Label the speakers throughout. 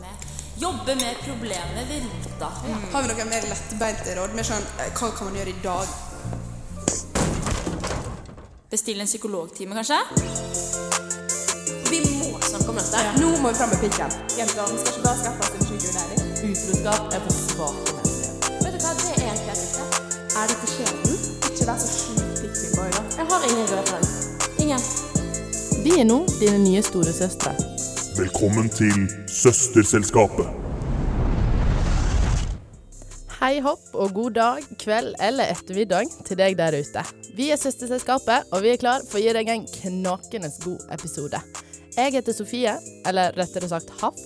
Speaker 1: med. Jobbe med problemet ved rota.
Speaker 2: Har vi noen mer lettbeinte råd? Mer sånn eh, Hva kan man gjøre i dag?
Speaker 1: Bestille en psykologtime, kanskje?
Speaker 3: Vi må snakke om dette.
Speaker 2: Nå må vi fram med pikken.
Speaker 4: Jenter skal ikke bare skaffe seg sykehulæring.
Speaker 5: Utroskap er for svake mennesker.
Speaker 3: Vet du hva, det er egentlig dette. Er dette skjebnen?
Speaker 4: Ikke vær så sjukt pikkboy, da.
Speaker 3: Jeg har ingen referanse. Ingen.
Speaker 5: Vi er nå dine nye storesøstre.
Speaker 6: Velkommen til Søsterselskapet.
Speaker 5: Hei hopp og god dag, kveld eller ettermiddag til deg der ute. Vi er Søsterselskapet, og vi er klar for å gi deg en knakende god episode. Jeg heter Sofie, eller rettere sagt Haff,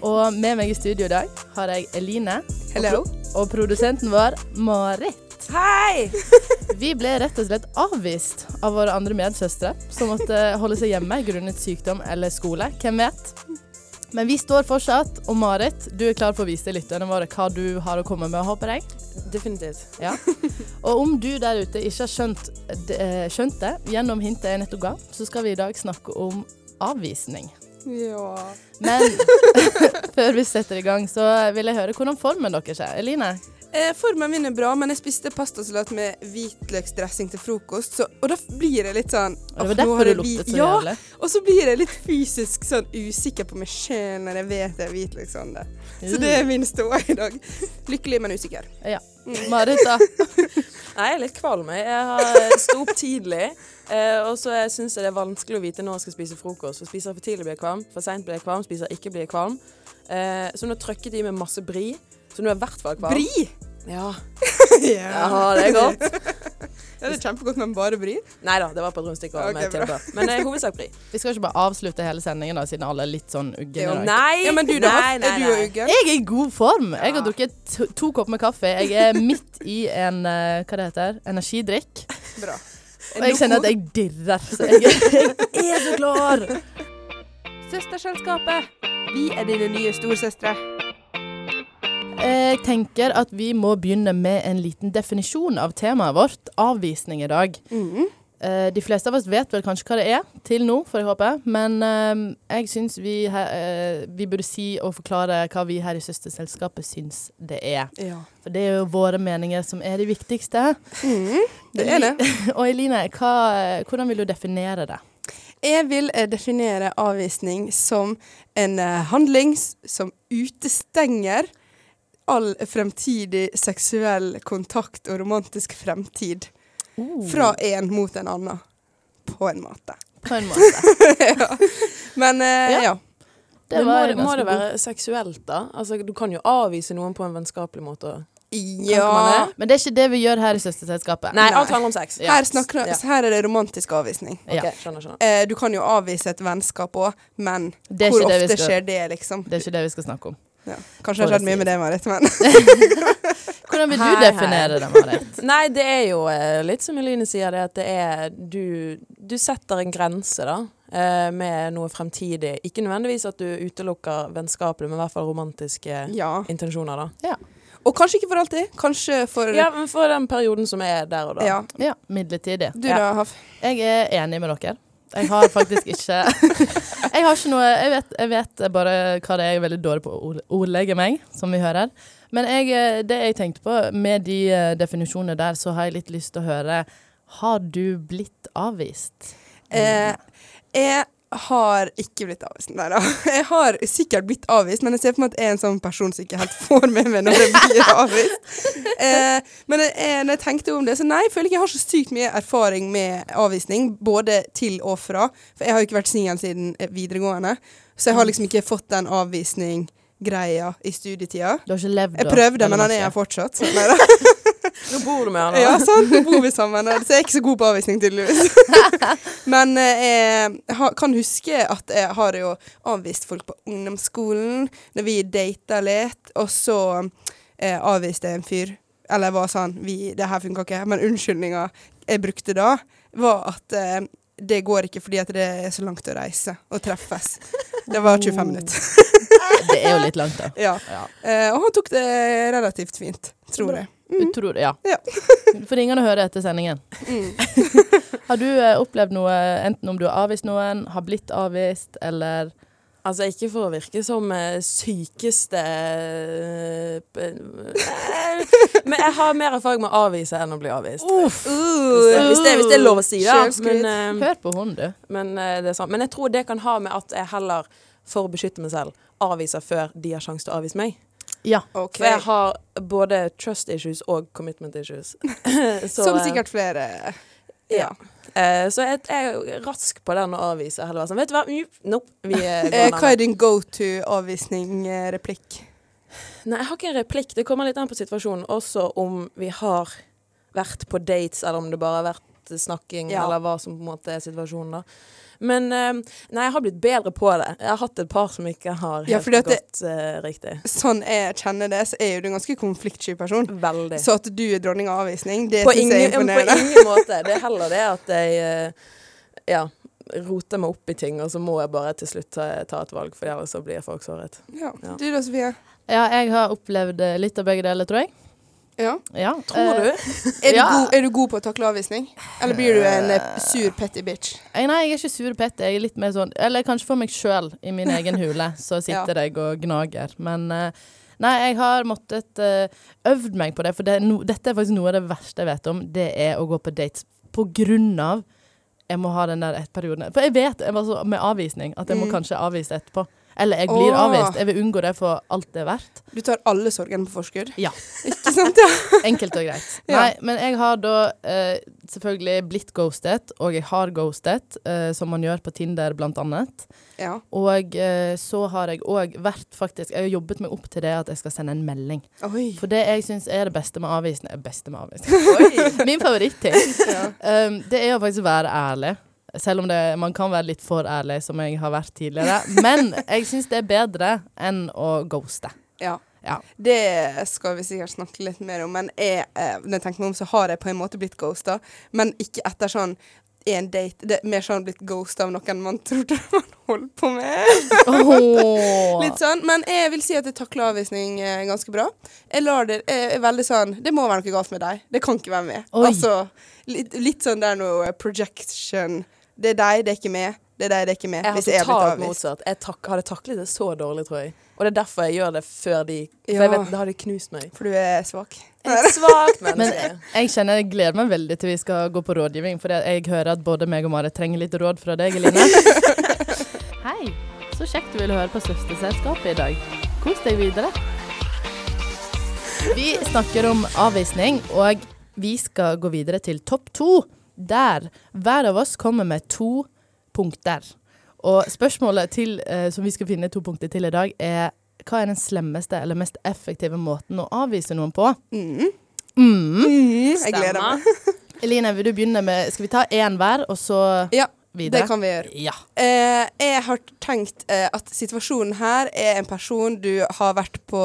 Speaker 5: og med meg i studio i dag har jeg Eline
Speaker 2: Hello.
Speaker 5: og produsenten vår Marit.
Speaker 2: Hei!
Speaker 5: Vi ble rett og slett avvist av våre andre medsøstre, som måtte holde seg hjemme grunnet sykdom eller skole. Hvem vet? Men vi står fortsatt, og Marit, du er klar for å vise lytterne våre hva du har å komme med, håper jeg.
Speaker 4: Definitivt.
Speaker 5: Ja. Og om du der ute ikke har skjønt, d- eh, skjønt det gjennom hintet jeg nettopp ga, så skal vi i dag snakke om avvisning.
Speaker 4: Ja.
Speaker 5: Men før vi setter i gang, så vil jeg høre hvordan formen deres er. Eline?
Speaker 2: Eh, formen min er bra, men jeg spiste pastasalat med hvitløksdressing til frokost, så, og da blir jeg litt sånn
Speaker 5: Og det var
Speaker 2: «Åh, nå
Speaker 5: derfor
Speaker 2: har
Speaker 5: du
Speaker 2: jeg hvit-»
Speaker 5: luktet så
Speaker 2: ja,
Speaker 5: jævlig.
Speaker 2: Og så blir jeg litt fysisk sånn usikker på meg sjøl når jeg vet det er hvitløksånde. Så det er min ståa i dag. Lykkelig, men usikker.
Speaker 5: Ja. Marit, da?
Speaker 4: Nei, jeg er litt kvalm. jeg. Jeg har sto opp tidlig. eh, og så syns jeg det er vanskelig å vite når jeg skal spise frokost. For spiser jeg for tidlig, blir jeg kvalm. For seint blir jeg kvalm. Spiser jeg ikke, blir jeg kvalm. Eh, så nå trøkket de med masse bri. Så nå er jeg i hvert fall kvalm.
Speaker 2: Bri!
Speaker 4: Ja.
Speaker 2: Ja.
Speaker 4: ja, det er godt.
Speaker 2: Det er kjempegodt, men bare bry.
Speaker 4: Nei da, det var på et rundstykke
Speaker 2: Ok,
Speaker 4: okay, med
Speaker 2: bra.
Speaker 4: tilbehør. Men det er i hovedsak bri.
Speaker 5: Vi skal ikke bare avslutte hele sendingen, da, siden alle er litt sånn uggene i dag.
Speaker 4: Nei!
Speaker 2: Ja, men du da?
Speaker 4: Nei, nei,
Speaker 2: er du
Speaker 4: nei.
Speaker 2: og Uggen?
Speaker 5: Jeg er i god form. Jeg har drukket to, to kopper med kaffe. Jeg er midt i en eh, hva det heter, energidrikk.
Speaker 2: Bra.
Speaker 5: Og jeg kjenner at jeg dirrer. Så jeg, jeg er så klar.
Speaker 2: Søsterselskapet, vi er dine nye storsøstre.
Speaker 5: Jeg tenker at vi må begynne med en liten definisjon av temaet vårt, avvisning, i dag.
Speaker 2: Mm.
Speaker 5: Eh, De fleste av oss vet vel kanskje hva det er, til nå, får jeg håpe. Men eh, jeg syns vi, her, eh, vi burde si og forklare hva vi her i Søsterselskapet syns det er.
Speaker 2: Ja.
Speaker 5: For det er jo våre meninger som er de viktigste.
Speaker 2: Mm. Det er det.
Speaker 5: Og Eline, hva, eh, hvordan vil du definere det?
Speaker 2: Jeg vil eh, definere avvisning som en eh, handling s- som utestenger all fremtidig seksuell kontakt og romantisk fremtid fra en mot en annen, på en måte.
Speaker 5: På en måte.
Speaker 2: Men eh,
Speaker 5: Ja.
Speaker 2: ja.
Speaker 5: Det
Speaker 4: Men må,
Speaker 5: var
Speaker 4: det, må
Speaker 5: ganske
Speaker 4: det være seksuelt, da? Altså, du kan jo avvise noen på en vennskapelig måte.
Speaker 2: Ja.
Speaker 5: god. Men det er ikke det vi gjør her i Søsterselskapet.
Speaker 4: Nei,
Speaker 2: Nei.
Speaker 4: alt handler om sex.
Speaker 2: Her, snakker,
Speaker 4: Ja.
Speaker 2: her er det romantisk avvisning.
Speaker 5: Ja.
Speaker 4: Ok, skjønner, skjønner.
Speaker 2: Eh, du kan jo avvise et vennskap òg, men
Speaker 5: Det er
Speaker 2: hvor
Speaker 5: ikke det vi
Speaker 2: ofte
Speaker 5: skal-
Speaker 2: skjer det, liksom?
Speaker 5: Det er ikke det vi skal snakke om.
Speaker 2: Ja. Kanskje det har skjedd mye med det, Marit, men
Speaker 5: Hvordan vil
Speaker 4: Hei,
Speaker 5: du
Speaker 4: hei.
Speaker 5: definere det, Marit?
Speaker 4: Nei, det er jo eh, litt som Eline sier, det at det er du, du setter en grense, da. eh, Med noe fremtidig. Ikke nødvendigvis at du utelukker vennskapelig, men i hvert fall romantiske
Speaker 2: ja.
Speaker 4: intensjoner, da.
Speaker 5: Ja.
Speaker 2: Og kanskje ikke for alltid. Kanskje for
Speaker 4: Ja, men for den perioden som er der og da.
Speaker 2: ja.
Speaker 5: ja. Midlertidig.
Speaker 2: Du
Speaker 4: Ja.
Speaker 2: da, Haf?
Speaker 5: Jeg er enig med dere. Jeg har faktisk ikke Jeg har ikke noe Jeg vet, jeg vet bare hva det er jeg er veldig dårlig på å ord- ordlegge meg, som vi hører. Men jeg, eh, det jeg tenkte på, med de eh, definisjonene der, så har jeg litt lyst til å høre Har du blitt avvist?
Speaker 2: Eh, jeg har ikke blitt avvist. Nei da. Jeg har sikkert blitt avvist, men jeg ser for meg at jeg er en sånn person som ikke helt får med meg når jeg blir avvist. Eh, men jeg, jeg, når jeg tenkte om det, så nei, jeg føler ikke jeg har så sykt mye erfaring med avvisning. Både til og fra. For jeg har jo ikke vært singel siden eh, videregående. Så jeg har liksom ikke fått den avvisning-greia i studietida.
Speaker 5: Du har ikke levd
Speaker 2: Jeg
Speaker 5: da,
Speaker 2: prøvde,
Speaker 5: eller
Speaker 2: men han
Speaker 5: noe?
Speaker 2: er her fortsatt. Så, nei da.
Speaker 4: Nå bor du med han, da.
Speaker 2: Ja, sant. Nå bor vi sammen, og så er jeg ikke så god på avvisning, tydeligvis. Men eh, jeg har- kan huske at jeg har jo avvist folk på ungdomsskolen, når vi data litt, og så eh, avviste jeg en fyr. Eller var sånn vi, 'Det her funka ikke', men unnskyldninga jeg brukte da, var at eh, det går ikke fordi at det er så langt å reise og treffes. Det var 25
Speaker 4: Oh.
Speaker 2: minutter.
Speaker 5: Det er jo litt langt, da.
Speaker 2: Ja.
Speaker 5: Ja.
Speaker 2: Eh, og han tok det relativt fint, tror jeg.
Speaker 5: Utrolig, ja.
Speaker 2: Ja.
Speaker 5: Du får ringe han og høre etter sendingen. har du eh, opplevd noe, enten om du har avvist noen, har blitt avvist, eller
Speaker 4: Altså, ikke for å virke som eh, sykeste eh, p- eh, Men jeg har mer erfaring med å avvise enn å bli avvist.
Speaker 2: Oh.
Speaker 4: Hvis det, hvis, det, hvis det er lov å si, da.
Speaker 2: Selvskryt.
Speaker 4: Men, eh,
Speaker 5: Hør på hun, du.
Speaker 4: men, eh, det er sant. men jeg tror det kan ha med at jeg heller, for å beskytte meg selv, avviser før de har sjanse til å avvise meg.
Speaker 5: Ja.
Speaker 2: Ok.
Speaker 4: For jeg har både trust issues og commitment issues. Så,
Speaker 2: Som
Speaker 4: eh,
Speaker 2: sikkert flere.
Speaker 4: Ja. Eh, så jeg, jeg er jo rask på den å avvise. Heller være sånn, vet du hva, Mm, nope. Vi eh, går
Speaker 2: Eh,
Speaker 4: en
Speaker 2: hva er
Speaker 4: annen.
Speaker 2: din go to-avvisning-replikk?
Speaker 4: Nei, jeg har ikke en replikk. Det kommer litt an på situasjonen. Også om vi har vært på dates, eller om det bare har vært snakking,
Speaker 2: Ja.
Speaker 4: eller hva som på en måte er situasjonen da. Men eh, nei, jeg har blitt bedre på det. Jeg har hatt et par som ikke har helt
Speaker 2: Ja, fordi at det-
Speaker 4: gått eh, riktig.
Speaker 2: Sånn jeg kjenner det, så er jo du en ganske konfliktsky person.
Speaker 4: Veldig.
Speaker 2: Så at du er dronning av avvisning, det
Speaker 4: på,
Speaker 2: syns jeg er
Speaker 4: ingen, på
Speaker 2: imponerende.
Speaker 4: ingen måte. Det er heller det at jeg eh, ja, roter meg opp i ting, og så må jeg bare til slutt ta, ta et valg, for ellers så blir folk såret.
Speaker 2: Ja.
Speaker 4: Ja.
Speaker 2: Du da, Sofie?
Speaker 5: ja, jeg har opplevd eh, litt av begge deler, tror jeg.
Speaker 2: Ja.
Speaker 5: Ja.
Speaker 4: Tror
Speaker 5: eh,
Speaker 4: du?
Speaker 2: Er, du
Speaker 5: Ja.
Speaker 2: god, er du god på å takle avvisning? Eller blir du en eh, sur petty bitch?
Speaker 5: Jeg, nei, jeg er ikke sur Petter. Jeg er litt mer sånn Eller kanskje for meg sjøl, i min egen hule, så sitter jeg og gnager. Men eh, nei, jeg har måttet eh, øvd meg på det, for det er no, dette er faktisk noe av det verste jeg vet om. Det er å gå på dates på grunn av jeg må ha den der et perioden. For jeg vet jeg var så, med avvisning at jeg må kanskje avvise etterpå. Eller jeg blir
Speaker 2: Mm. Åh.
Speaker 5: avvist. Jeg vil unngå det for alt det er verdt.
Speaker 2: Du tar alle sorgene på forskudd?
Speaker 5: Ja.
Speaker 2: Ikke sant? Ja.
Speaker 5: Enkelt og greit.
Speaker 2: Ja.
Speaker 5: Nei, men jeg har da eh, selvfølgelig blitt ghostet, og jeg har ghostet, eh, som man gjør på Tinder blant annet.
Speaker 2: ja.
Speaker 5: Og eh, så har jeg òg vært faktisk Jeg har jobbet meg opp til det at jeg skal sende en melding.
Speaker 2: Oi.
Speaker 5: For det jeg syns er det beste med avvisning eh, Beste med avvisning. Min favoritting. Um, det er å faktisk være ærlig. Selv om det, man kan være litt for ærlig, som jeg har vært tidligere. Men jeg syns det er bedre enn å ghoste.
Speaker 2: Ja.
Speaker 5: Ja.
Speaker 2: Det skal vi sikkert snakke litt mer om, men jeg, eh, når jeg tenker meg om, så har jeg på en måte blitt ghosta, men ikke etter sånn en date. Det er mer sånn blitt ghosta av noen man trodde man holdt på med.
Speaker 5: Åh.
Speaker 2: Litt sånn. Men jeg vil si at jeg takler avvisning eh, ganske bra. Jeg lar det jeg er veldig sånn Det må være noe galt med deg. Det kan ikke være meg.
Speaker 5: Oi.
Speaker 2: Altså, litt, litt sånn der noe eh, projection. Det er deg, det er ikke meg. Det er deg, det er ikke meg.
Speaker 4: Jeg har
Speaker 2: Hvis jeg er blitt
Speaker 4: totalt
Speaker 2: avvist.
Speaker 4: motsatt. Jeg tak hadde taklet det så dårlig, tror jeg. Og det er derfor jeg gjør det før de For
Speaker 2: Ja.
Speaker 4: jeg vet, da har de knust meg.
Speaker 2: For du er svak.
Speaker 4: Jeg er et svakt
Speaker 5: Men
Speaker 4: menneske.
Speaker 5: jeg, jeg kjenner jeg gleder meg veldig til vi skal gå på rådgivning, for jeg, jeg hører at både meg og Marit trenger litt råd fra deg, Eline. Hei, så kjekt du ville høre på Søsterselskapet i dag. Kos deg videre. Vi snakker om avvisning, og vi skal gå videre til topp to, der hver av oss kommer med to punkter. Og spørsmålet til, eh, som vi skal finne to punkter til i dag, er hva er den slemmeste eller mest effektive måten å avvise noen på?
Speaker 2: Jeg gleder meg.
Speaker 4: Stemmer.
Speaker 5: Eline, vil du begynne med Skal vi ta én hver, og så
Speaker 2: Ja,
Speaker 5: videre?
Speaker 2: det kan vi gjøre.
Speaker 5: Ja.
Speaker 2: Eh, jeg har tenkt eh, at situasjonen her er en person du har vært på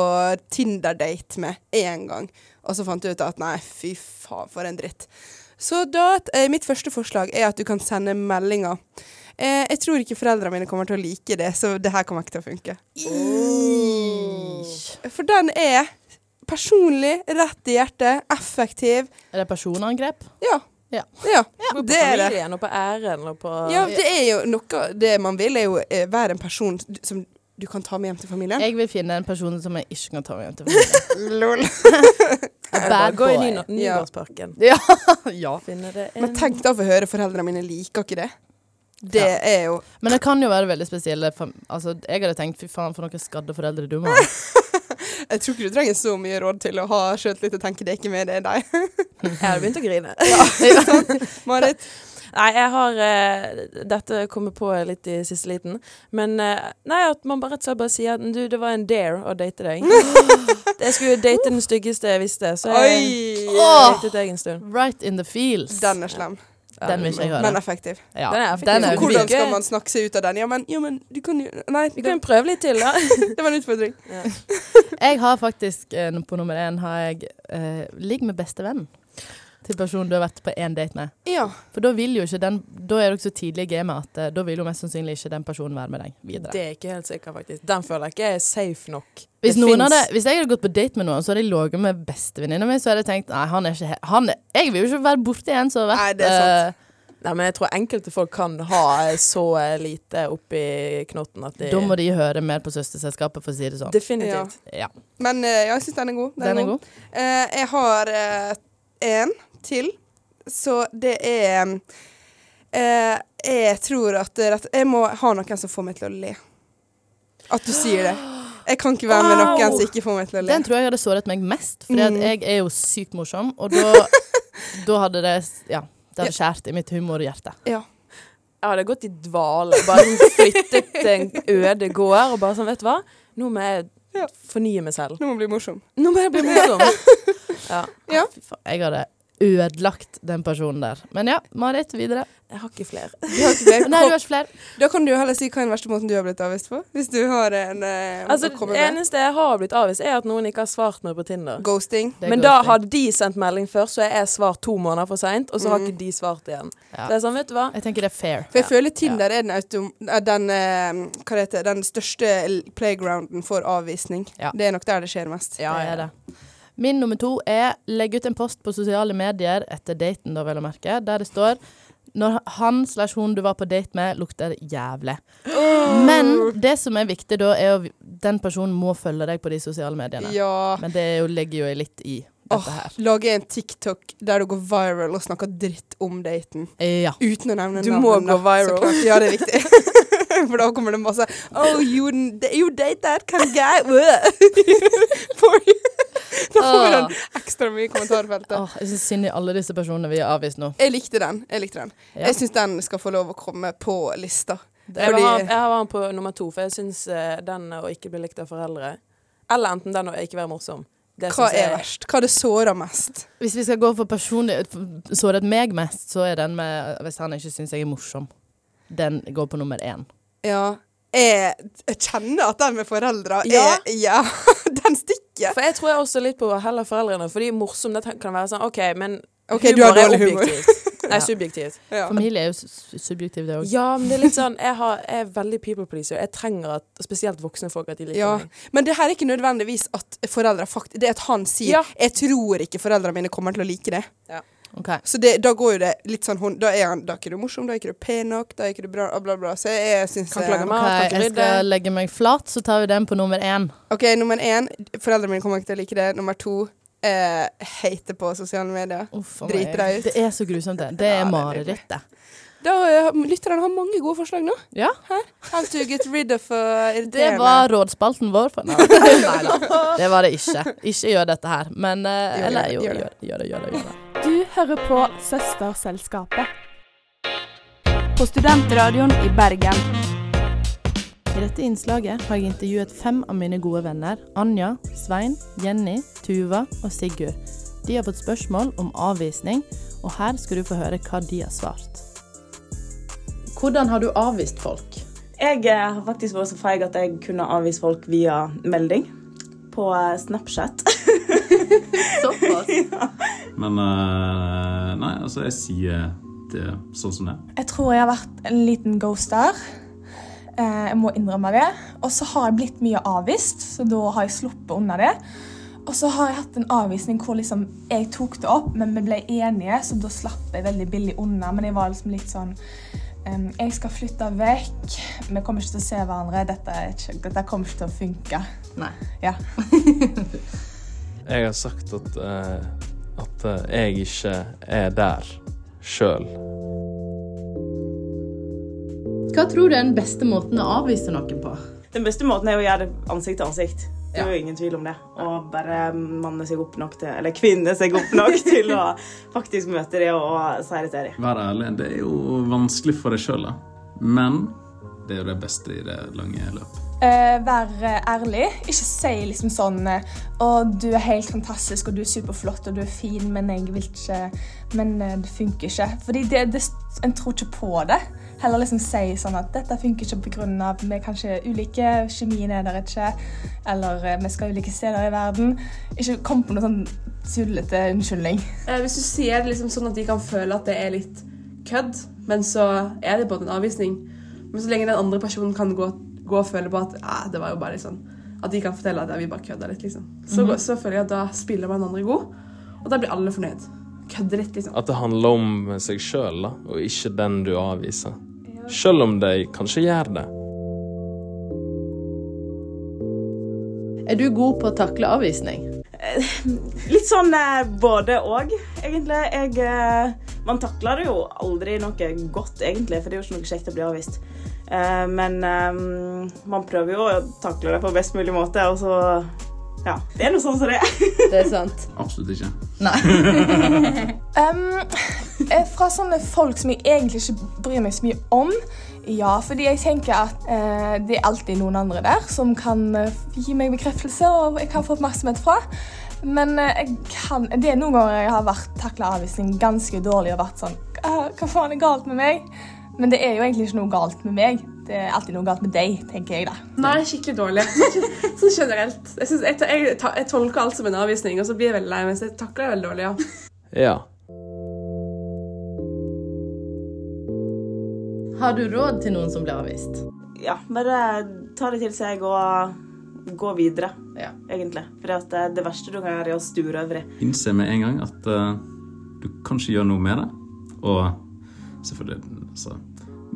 Speaker 2: Tinder-date med én gang, og så fant du ut at nei, fy faen, for en dritt. Så da, eh, mitt første forslag er at du kan sende meldinger. Eh, jeg tror ikke foreldrene mine kommer til å like det, så det her kommer ikke til å funke. For den er personlig, rett i hjertet, effektiv.
Speaker 5: Er det personangrep?
Speaker 2: Ja.
Speaker 5: Ja.
Speaker 2: ja.
Speaker 4: Går på
Speaker 2: Det er det.
Speaker 4: familien og på æren og på
Speaker 2: Ja, det er jo noe Det man vil, er jo eh, være en person d- som du kan ta med hjem til familien.
Speaker 5: Jeg vil finne en person som jeg ikke kan ta med hjem til familien.
Speaker 2: Lol.
Speaker 5: A
Speaker 4: Bare
Speaker 5: Bad
Speaker 4: Gå i
Speaker 5: boy.
Speaker 4: Nyno- Nygårdsparken.
Speaker 5: Ja. ja.
Speaker 4: Finne det en
Speaker 2: Men tenk da å få høre foreldrene mine liker ikke det. Det er jo
Speaker 5: Men det kan jo være veldig spesielle fam- Altså, jeg hadde tenkt fy faen, for noen skadde foreldre du må ha.
Speaker 2: Jeg tror ikke du trenger så mye råd til å ha sjøltillit og tenke det er ikke med, det er deg.
Speaker 4: Jeg hadde begynt å grine.
Speaker 2: Marit.
Speaker 4: Nei, jeg har eh, Dette kommer på litt i siste liten. Men eh, nei, at man bare rett og slett bare sier at du, det var en dare å date deg. jeg skulle date den styggeste jeg visste, så
Speaker 5: eh.
Speaker 4: jeg
Speaker 2: Oi!
Speaker 4: datet deg en stund.
Speaker 5: Right in the feels.
Speaker 2: Den er slem,
Speaker 5: Den vil ikke jeg
Speaker 2: men
Speaker 5: høre.
Speaker 2: effektiv.
Speaker 5: Ja.
Speaker 4: den er effektiv.
Speaker 5: Den
Speaker 4: Nei,
Speaker 5: er
Speaker 2: For
Speaker 4: vi
Speaker 2: hvordan
Speaker 4: vil
Speaker 2: skal
Speaker 4: ikke-
Speaker 2: man snakke seg ut av den? Ja, men, ja, men du kan jo Nei,
Speaker 4: Vi
Speaker 2: det,
Speaker 4: kan jo prøve litt til, da.
Speaker 2: det var en utfordring.
Speaker 5: Jeg har faktisk eh, på nummer én har jeg eh, Ligg med bestevenn til personen du har vært på én date med.
Speaker 2: Ja.
Speaker 5: For da vil jo ikke den Da er dere så tidlig i gamet at eh, da vil jo mest sannsynlig ikke den personen være med deg videre.
Speaker 4: Det er ikke helt sikker, faktisk. Den føler jeg ikke er safe nok.
Speaker 5: Hvis,
Speaker 4: Det
Speaker 5: noen
Speaker 4: finnes-
Speaker 5: hadde, hvis jeg hadde gått på date med noen, så hadde jeg ligget med bestevenninna mi, så hadde jeg tenkt nei, han er ikke he- han er, Jeg vil jo ikke være borti en som har
Speaker 2: Nei,
Speaker 5: vært
Speaker 2: det er sant.
Speaker 5: eh,
Speaker 4: Nei, men jeg tror enkelte folk kan ha eh, så eh, lite oppi knotten at de
Speaker 5: Da må de høre mer på søsterselskapet, for å si det sånn.
Speaker 4: Definitivt.
Speaker 5: Ja.
Speaker 2: Men eh, ja, jeg syns den er god.
Speaker 5: Den er god.
Speaker 2: Eh, jeg har eh, en til, så det er eh, Jeg tror at det er rett- Jeg må ha noen som får meg til å le. At du sier det. Jeg kan ikke være med noen som ikke får meg til å le.
Speaker 5: Den tror jeg hadde såret meg mest, for jeg er jo sykt morsom, og da, da hadde det Ja. Det hadde skjært i mitt humorhjerte.
Speaker 2: Ja.
Speaker 4: Jeg hadde gått i dvale. Bare sånn flyttet til en øde gård og bare sånn, vet du hva, nå må
Speaker 2: Ja.
Speaker 4: jeg fornye meg selv.
Speaker 2: Nå må jeg bli morsom.
Speaker 4: Nå må jeg bli sånn. morsom. Ja.
Speaker 5: Fy faen, Jeg hadde ødelagt den personen der. Men ja, Marit, videre.
Speaker 4: Jeg har ikke flere.
Speaker 2: Du har ikke flere.
Speaker 5: Nei, du har ikke flere.
Speaker 2: Da kan du jo heller si hva er den verste måten du har blitt avvist på. Hvis du har en eh,
Speaker 4: Altså,
Speaker 2: å komme
Speaker 4: det
Speaker 2: med.
Speaker 4: eneste jeg har blitt avvist, er at noen ikke har svart meg på Tinder.
Speaker 2: Ghosting.
Speaker 5: Det
Speaker 4: Men
Speaker 5: går
Speaker 4: da
Speaker 5: fint.
Speaker 4: hadde de sendt melding først, så er jeg svart to måneder for seint, og så har ikke de svart igjen.
Speaker 5: Ja.
Speaker 4: Så jeg er sånn, vet du hva.
Speaker 5: Jeg tenker det er fair.
Speaker 2: For jeg føler Tinder er den, autom er den, eh, hva det heter, den største l- playgrounden for avvisning.
Speaker 5: Ja.
Speaker 2: Det er nok der det skjer mest.
Speaker 5: Ja, det er det. Min nummer to er legg ut en post på sosiale medier etter daten, da vel å merke, der det står når han slash hun du var på date med, lukter jævlig. Men det som er viktig da, er at den personen må følge deg på de sosiale mediene.
Speaker 2: Ja.
Speaker 5: Men det er jo, legger jo jeg litt i
Speaker 2: Åh,
Speaker 5: dette her.
Speaker 2: lage en TikTok der du går viral og snakker dritt om daten.
Speaker 5: Ja.
Speaker 2: Uten å nevne
Speaker 4: Du må
Speaker 2: navnet,
Speaker 4: gå
Speaker 2: da, så
Speaker 4: viral.
Speaker 2: klart. Ja, det er viktig. For da kommer det masse Oh, you, you date that kind of guy. For- da får vi
Speaker 4: Ah.
Speaker 2: den ekstra mye i kommentarfeltet.
Speaker 5: Åh, jeg syns synd i alle disse personene vi har avvist nå.
Speaker 2: Jeg likte den. Jeg likte den.
Speaker 5: Ja.
Speaker 2: Jeg syns den skal få lov å komme på lista.
Speaker 4: Jeg vil
Speaker 2: Fordi-
Speaker 4: ha- jeg har den på nummer to, for jeg syns eh, den å ikke bli likt av foreldre Eller enten den å ikke være morsom. Det
Speaker 2: Hva
Speaker 4: synes jeg-
Speaker 2: er verst? Hva det sårer mest?
Speaker 5: Hvis vi skal gå for personlig for- såret meg mest, så er den med hvis han ikke syns jeg er morsom. Den går på nummer én.
Speaker 2: Ja. Jeg, jeg kjenner at den med foreldra
Speaker 4: Ja.
Speaker 2: er Ja, den stikker.
Speaker 4: For jeg tror jeg også litt på heller foreldrene, fordi morsom det kan være sånn OK, men
Speaker 2: Ok, du har dårlig humor.
Speaker 4: objektivt. Nei, subjektivt.
Speaker 2: Ja.
Speaker 5: Familie er jo su- subjektiv, det òg.
Speaker 4: Ja, men det er litt sånn Jeg, har, jeg er veldig people pleaser. Jeg trenger at spesielt voksne folk at de liker
Speaker 2: Ja.
Speaker 4: meg.
Speaker 2: Men det her er ikke nødvendigvis at foreldra faktisk Det er at han sier
Speaker 4: Ja.
Speaker 2: 'Jeg tror ikke foreldra mine kommer til å like det'.
Speaker 5: Ok.
Speaker 2: Så det, da går jo det litt sånn hånd Da er han Da er ikke du morsom, da er ikke du pen nok, da er ikke du bra, bla, bla. Så jeg, jeg syns
Speaker 4: Kan klage
Speaker 2: eh,
Speaker 4: mat,
Speaker 5: Ok,
Speaker 4: kan ikke
Speaker 5: jeg skal
Speaker 4: rydde.
Speaker 5: legge meg flat, så tar vi den på nummer én.
Speaker 2: OK, nummer én Foreldra mine kommer ikke til å like det. Nummer to eh, Hater på sosiale medier.
Speaker 5: Uff, å
Speaker 2: Driter
Speaker 5: meg.
Speaker 2: deg ut.
Speaker 5: Det er så grusomt, det. Det er marerittet.
Speaker 2: Da eh, Lytterne har mange gode forslag nå.
Speaker 5: Ja.
Speaker 2: How to get rid of uh, irriterende
Speaker 5: Det var rådspalten vår. For, nei, nei, da. det var det ikke. Ikke gjør dette her. Men eh,
Speaker 2: Gjør det,
Speaker 5: Eller
Speaker 2: gjør
Speaker 5: jo, gjør
Speaker 2: det.
Speaker 5: det. Gjør det, gjør det, gjør det.
Speaker 7: Du hører på Søsterselskapet. På studentradioen i Bergen.
Speaker 5: I dette innslaget har jeg intervjuet fem av mine gode venner. Anja, Svein, Jenny, Tuva og Sigurd. De har fått spørsmål om avvisning, og her skal du få høre hva de har svart. Hvordan har du avvist folk?
Speaker 8: Jeg eh, har faktisk vært så feig at jeg kunne avvise folk via melding på eh, Snapchat.
Speaker 5: Såpass.
Speaker 9: Men eh, nei, altså, jeg sier det sånn som det er.
Speaker 10: Jeg tror jeg har vært en liten ghoster. Eh, Jeg må innrømme det. Og så har jeg blitt mye avvist, så da har jeg sluppet unna det. Og så har jeg hatt en avvisning hvor liksom jeg tok det opp, men vi ble enige, så da slapp jeg veldig billig unna. Men jeg var liksom litt sånn ehm, Jeg skal flytte vekk. Vi kommer ikke til å se hverandre. Dette, er ikke, dette kommer ikke til å funke.
Speaker 5: Nei.
Speaker 10: Ja.
Speaker 11: Jeg har sagt at, eh, at eh, jeg ikke er der sjøl.
Speaker 5: Hva tror du er den beste måten å avvise noen på?
Speaker 8: Den beste måten er jo å gjøre det ansikt til ansikt. Det er
Speaker 5: Ja.
Speaker 8: jo ingen tvil om det. Og bare manne seg opp nok til, eller kvinne seg opp nok til å faktisk møte det og si det til dem.
Speaker 9: Vær ærlig, det er jo vanskelig for deg sjøl, da. Men det er jo det beste i det lange løp.
Speaker 10: Eh, være ærlig. Ikke si liksom sånn Å, du er helt fantastisk, og du er superflott, og du er fin, men jeg vil ikke Men eh, det funker ikke. Fordi det, det, en tror ikke på det. Heller liksom si sånn at dette funker ikke på grunn av vi er kanskje ulike, kjemien er der ikke, eller eh, vi skal ulike steder i verden. Ikke kom på noe sånn tullete unnskyldning.
Speaker 12: Eh, Hvis du sier det liksom sånn at de kan føle at det er litt kødd, men så er det bare en avvisning. Men så lenge den andre personen kan gå, gå og føle på at «Ah, det var jo bare litt sånn At de kan fortelle at «Ja, vi bare kødda litt, liksom. Så, så føler jeg at da spiller man andre god, og da blir alle fornøyd. kødder litt, liksom.
Speaker 11: At det handler om seg sjøl, da, og ikke den du avviser. Sjøl om de kanskje gjør det.
Speaker 5: Er du god på å takle avvisning?
Speaker 8: Litt sånn eh, både og, egentlig. Jeg, eh, man takler det jo aldri noe godt, egentlig, for det er jo ikke noe kjekt å bli avvist. Eh, men eh, man prøver jo å takle det på best mulig måte, og så Ja. Det er nå sånn som det er.
Speaker 5: Det er sant.
Speaker 9: Absolutt ikke.
Speaker 10: Um, eh, fra sånne folk som jeg egentlig ikke bryr meg så mye om. Ja, fordi jeg tenker at eh, det er alltid noen andre der som kan eh, gi meg bekreftelse og jeg kan få oppmerksomhet fra. Men eh, jeg kan, det er noen ganger jeg har vært takla avvisning ganske dårlig og vært sånn «Ah, Hva faen er galt med meg? Men det er jo egentlig ikke noe galt med meg. Det er alltid noe galt med deg, tenker jeg da.
Speaker 12: Nei, skikkelig dårlig. Sånn generelt. Jeg, synes, jeg, jeg, ta- jeg tolker alt som en avvisning, og så blir jeg veldig lei meg. Så jeg takler det veldig dårlig, ja.
Speaker 11: Ja.
Speaker 5: Har du råd til noen som blir avvist?
Speaker 8: Ja, bare ta det til seg og gå videre, egentlig. For det verste du kan gjøre, er å sture over det.
Speaker 9: Innse med en gang at eh, du kan ikke gjøre noe med det. Og selvfølgelig altså,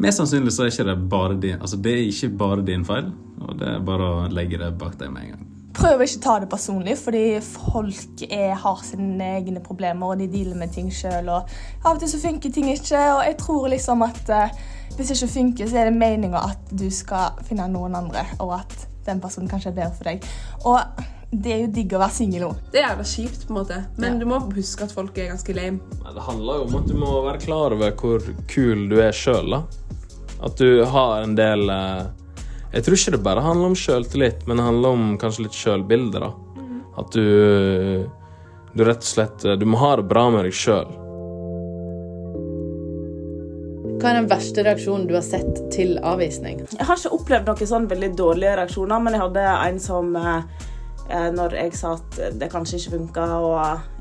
Speaker 9: Mest sannsynlig så er ikke det bare din Altså det er ikke bare din feil, og det er bare å legge det bak deg med en gang.
Speaker 10: Prøv å ikke ta det personlig, fordi folk er, har sine egne problemer, og de dealer med ting sjøl. Av og til så funker ting ikke, og jeg tror liksom at eh, hvis det ikke funker, så er det meninga at du skal finne noen andre, og at den personen kanskje er bedre for deg. Og det er jo digg å være singel òg.
Speaker 12: Det er jævla kjipt, på en måte. Men du må huske at folk er ganske lame.
Speaker 11: Nei, Det handler jo om at du må være klar over hvor kul du er sjøl, da. At du har en del eh, Jeg tror ikke det bare handler om sjøltillit, men det handler om kanskje litt sjølbilde, da.
Speaker 9: Mm.
Speaker 11: At du Du rett og slett eh, Du må ha det bra med deg sjøl.
Speaker 5: Hva er den verste reaksjonen du har sett til avvisning?
Speaker 8: Jeg har ikke opplevd noen sånn veldig dårlige reaksjoner, men jeg hadde en som eh, eh, Når jeg sa at det kanskje ikke funka, og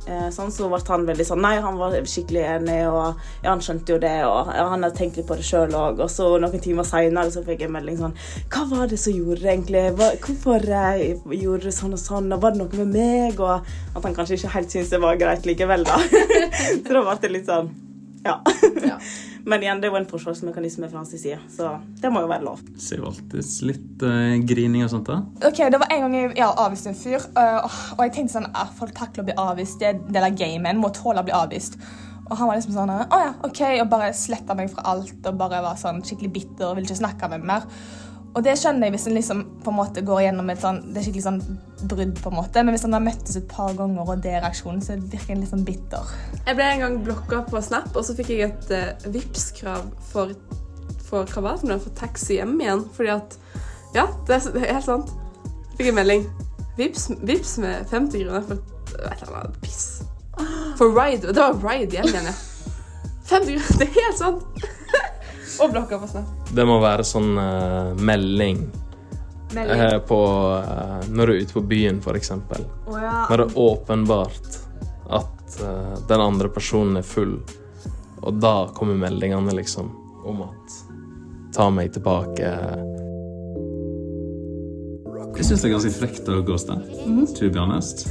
Speaker 8: eh, sånn, så ble han veldig sånn Nei, han var skikkelig enig, og ja, han skjønte jo det, og ja, han hadde tenkt litt på det sjøl òg. Og så noen timer seinere så fikk jeg en melding sånn Hva var det som gjorde det, egentlig? Hva, hvorfor eh, gjorde du sånn og sånn? Og var det noe med meg? Og at han kanskje ikke helt syntes det var greit likevel, da. så da ble det litt sånn Ja. Men igjen, det er jo en forsvarsmekanisme fra hans side, så det må jo være lov.
Speaker 9: Det er jo alltid litt eh, grining og sånt, da.
Speaker 10: Ok, Det var en gang jeg ja, avviste en fyr. øh, og jeg tenkte sånn ah, Folk takler å bli avvist. Det er en del av gamet. Må tåle å bli avvist. Og han var liksom sånn Å ja, OK. Og bare sletta meg fra alt og bare var sånn skikkelig bitter og ville ikke snakke med meg mer. Og det skjønner jeg hvis en liksom på en måte går gjennom et sånn Det er skikkelig sånn brudd, på en måte. Men hvis han har møttes et par ganger, og det er reaksjonen, så virker en litt sånn bitter.
Speaker 12: Jeg ble en gang blokka på Snap, og så fikk jeg et uh, Vipps-krav for, for hva var det for noe? For taxi hjem igjen. Fordi at Ja, det er, s- det er helt sant. Fikk en melding. Vips, Vipps med 50 kroner for et eller annet piss. For ride. Det var ride hjem igjen, ja. 50 kroner. Det er helt sant. og blokka på Snap.
Speaker 11: Det må være sånn eh, melding,
Speaker 12: Melding.
Speaker 11: eh, på eh, Når du er ute på byen, for eksempel.
Speaker 12: Å ja.
Speaker 11: Når det er åpenbart at eh, den andre personen er full, og da kommer meldingene liksom om at Ta meg tilbake.
Speaker 9: Jeg syns det er ganske frekt å ghoste. To be honest.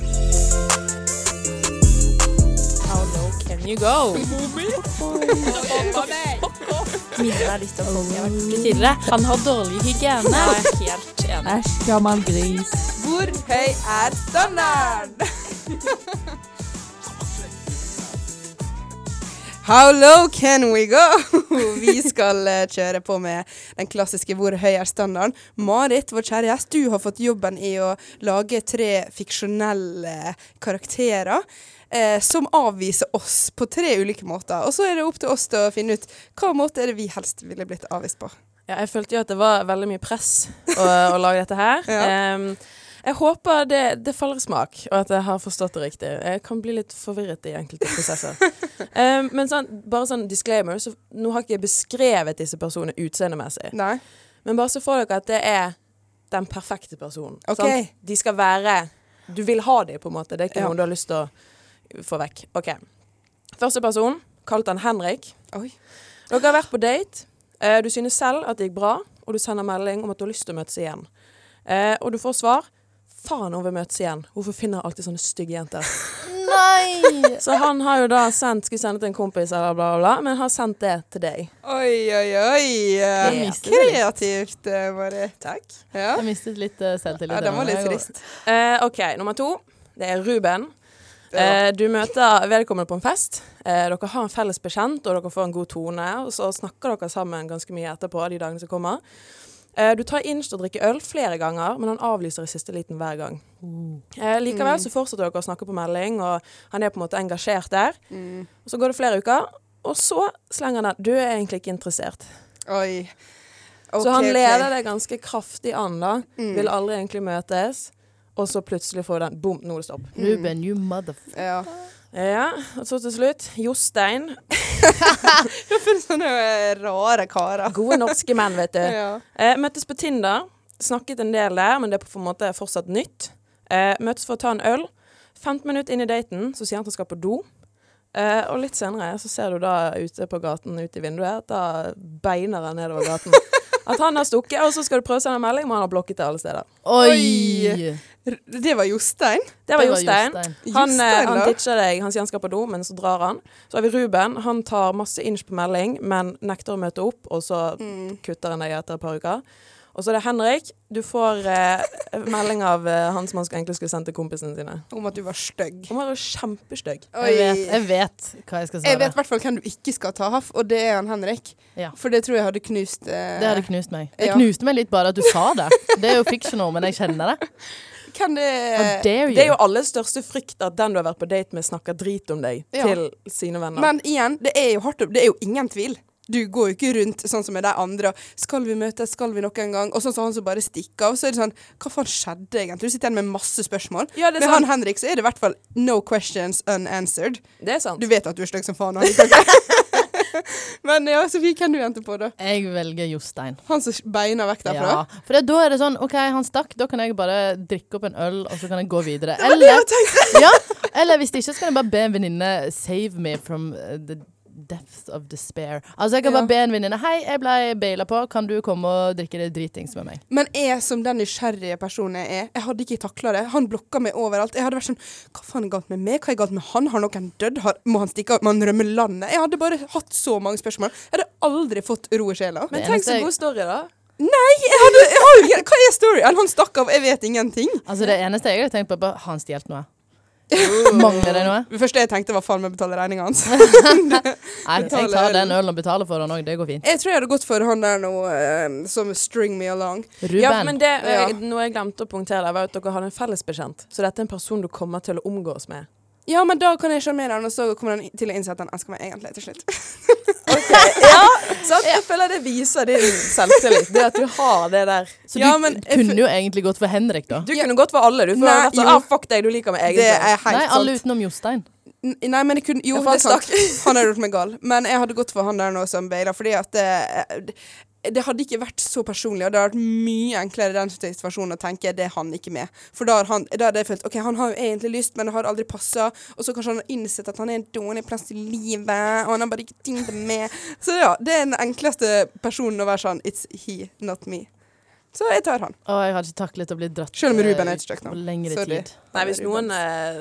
Speaker 3: How low can you go?
Speaker 1: Milla er litt av kongen jeg har vært borti tidligere. Han har dårlig hygiene. Jeg er helt enig.
Speaker 3: Æsj, gammel gris.
Speaker 2: Hvor høy er standarden? How low can we go? Vi skal eh, kjøre på med den klassiske 'Hvor høy er standarden?'. Marit, vår kjære gjest, du har fått jobben i å lage tre fiksjonelle karakterer eh, som avviser oss på tre ulike måter. Og så er det opp til oss til å finne ut hva måte er det vi helst ville blitt avvist på.
Speaker 4: Ja, jeg følte jo at det var veldig mye press å, å lage dette her. Em, jeg håper det, det faller i smak, og at jeg har forstått det riktig. Jeg kan bli litt forvirret i enkelte prosesser. Em, men sånn, bare sånn disclaimer, så nå har ikke jeg beskrevet disse personene utseendemessig. Men bare så får dere at det er den perfekte personen.
Speaker 2: Ok.
Speaker 4: sant? De skal være Du vil ha dem, på en måte. Det er ikke
Speaker 2: Ja.
Speaker 4: noe du har lyst til å få vekk. OK. Første person, kalt han Henrik.
Speaker 2: Oi.
Speaker 4: Dere har vært på date. Eh, Du synes selv at det gikk bra, og du sender melding om at du har lyst til å møtes igjen. Eh, Og du får svar. Faen, hun vil møtes igjen. Hvorfor finner jeg alltid sånne stygge jenter?
Speaker 5: nei!
Speaker 4: Så han har jo da sendt, skulle sende til en kompis, eller bla, bla, bla, men har sendt det til deg.
Speaker 2: Oi, oi, oi. eh,
Speaker 4: Jeg mistet det litt.
Speaker 2: Kreativt, eh, Mari. Takk. Ja.
Speaker 5: Jeg mistet litt eh, selvtillit.
Speaker 2: Ja, den var
Speaker 5: der
Speaker 2: litt
Speaker 5: nå.
Speaker 2: trist.
Speaker 4: Eh, OK, nummer to. Det er Ruben. Eh, du møter vedkommende på en fest. Eh, dere har en felles bekjent, og dere får en god tone. Og så snakker dere sammen ganske mye etterpå de dagene som kommer. Eh, du tar inst og drikker øl flere ganger, men han avlyser i siste liten hver gang. Eh, likevel så fortsetter dere å snakke på melding, og han er på en måte engasjert der.
Speaker 2: Mm.
Speaker 4: Og så går det flere uker, og så slenger han den 'du er egentlig ikke interessert'.
Speaker 2: Oi.
Speaker 4: så han
Speaker 2: Ok, ok.
Speaker 4: leder det ganske kraftig an, da.
Speaker 2: Mm.
Speaker 4: Vil aldri egentlig møtes. Og så plutselig får den bom, nå er det stopp.
Speaker 5: Ruben, you motherfucker.
Speaker 2: Ja.
Speaker 4: Ja, og så til slutt Jostein.
Speaker 2: Det finnes sånne eh, rare karer.
Speaker 4: Gode norske menn, vet du.
Speaker 2: Ja.
Speaker 4: Eh, møttes på Tinder. Snakket en del der, men det er på en måte fortsatt nytt. Eh, møtes for å ta en øl. 15 minutter inn i daten så sier han at han skal på do. Eh, og litt senere så ser du da ute på gaten, ute i vinduet, da beiner han nedover gaten. At han har stukket, og så skal du prøve å sende en melding, men han har blokket det alle steder.
Speaker 5: Oi!
Speaker 2: R- Det var Jostein.
Speaker 4: Det var Jostein. Han, eh,
Speaker 2: Jostein,
Speaker 4: han
Speaker 2: da.
Speaker 4: ditcher deg. Han sier han skal på do, men så drar han. Så har vi Ruben. Han tar masse inch på melding, men nekter å møte opp, og så
Speaker 2: Mm.
Speaker 4: kutter han deg etter et par uker. Og så er det Henrik. Du får eh, melding av eh, han som han skulle- egentlig skulle sendt til kompisene sine.
Speaker 2: Om at du var stygg.
Speaker 4: Om han var kjempestygg.
Speaker 5: Jeg vet, jeg vet hva jeg skal svare.
Speaker 2: Jeg vet i hvert fall hvem du ikke skal ta haff, og det er han Henrik.
Speaker 5: Ja.
Speaker 2: For det tror jeg hadde knust eh,
Speaker 5: Det hadde knust meg. Det
Speaker 2: Ja.
Speaker 5: knuste meg litt bare at du sa det. Det er jo fictional, men jeg kjenner det.
Speaker 2: Hvem Eh, det
Speaker 5: How dare you?
Speaker 4: Det er jo alles største frykt at den du har vært på date med, snakker drit om deg
Speaker 2: Ja.
Speaker 4: til sine venner.
Speaker 2: Men igjen, det er jo hardt. Det er jo ingen tvil. Du går jo ikke rundt sånn som med de andre. og, Skal vi møtes, skal vi noen gang? Og sånn som han som bare stikker av. Så er det sånn Hva faen skjedde egentlig? Du sitter igjen med masse spørsmål.
Speaker 4: Ja, det er
Speaker 2: med
Speaker 4: sant.
Speaker 2: han Henrik så er det i hvert fall no questions unanswered.
Speaker 4: Det er sant.
Speaker 2: Du vet at du er stygg som faen. Henrik. Men ja, Sofie, hvem du endte på, da?
Speaker 5: Jeg velger Jostein.
Speaker 2: Han som beina vekk derfra?
Speaker 5: Ja, for det, da er det sånn OK, han stakk, da kan jeg bare drikke opp en øl, og så kan jeg gå videre.
Speaker 2: Det var det jeg
Speaker 5: ja, eller hvis ikke, så kan jeg bare be en venninne save me from uh, the depths of despair. Altså, jeg kan
Speaker 2: Ja.
Speaker 5: bare be en venninne Hei, jeg ble baila på, kan du komme og drikke det dritings med meg?
Speaker 2: Men jeg som den nysgjerrige personen jeg er, jeg hadde ikke takla det. Han blokka meg overalt. Jeg hadde vært sånn Hva faen er galt med meg? Hva er galt med han? Har noen dødd? Har, må han stikke av? Må han rømme landet? Jeg hadde bare hatt så mange spørsmål. Jeg hadde aldri fått ro i sjela.
Speaker 4: Men tenk så god story, da.
Speaker 2: Nei! Jeg hadde, jeg har, jo- hva er storyen? Han stakk av, jeg vet ingenting.
Speaker 5: Altså, det eneste jeg har tenkt på, er bare Har han stjålet noe? Mangler det noe?
Speaker 2: Det første jeg tenkte, var faen meg betale regninga hans.
Speaker 5: Nei, jeg tar den ølen og betaler for den òg, det går fint.
Speaker 2: Jeg tror jeg hadde gått for han der nå eh, som string me along.
Speaker 5: Ruben.
Speaker 4: Ja, men det,
Speaker 2: Ja.
Speaker 4: eh, Noe jeg glemte å punktere, der, var at dere har en felles bekjent. Så dette er en person du kommer til å omgås med.
Speaker 2: Ja, men da kan jeg sjarmere han, og så kommer han til å innse at han elsker meg egentlig til slutt.
Speaker 4: Sant? Jeg føler det viser din selvtillit. Det at du har det der.
Speaker 5: Så du kunne jo egentlig gått for Henrik, da.
Speaker 4: Du kunne gått for alle, du. For
Speaker 2: Nei,
Speaker 4: rett og slett,
Speaker 2: jo.
Speaker 4: ah, fuck deg, du liker meg egentlig.
Speaker 2: Det er helt
Speaker 5: Nei, alle
Speaker 2: sant.
Speaker 5: utenom Jostein.
Speaker 2: N- Nei, men jeg kunne Jo,
Speaker 4: Ja, for han
Speaker 2: det er sant. Han hadde gjort meg gal. Men jeg hadde gått for han der nå som baila, fordi at det, eh, det hadde ikke vært så personlig, og det hadde vært mye enklere i den situasjonen å tenke det er han ikke med. For da har han, da hadde jeg følt OK, han har jo egentlig lyst, men det har aldri passa. Og så kanskje han har innsett at han er en dårlig plass i livet, og han har bare ikke tenkt det med. Så ja, det er den enkleste personen å være sånn It's he, not me. Så jeg tar han.
Speaker 5: Å, jeg hadde ikke taklet å bli dratt
Speaker 2: Selv om Ruben
Speaker 5: eh,
Speaker 2: er et stykke
Speaker 5: på
Speaker 2: navn.
Speaker 5: lengre
Speaker 2: Sorry.
Speaker 5: tid.
Speaker 4: Nei, hvis noen eh,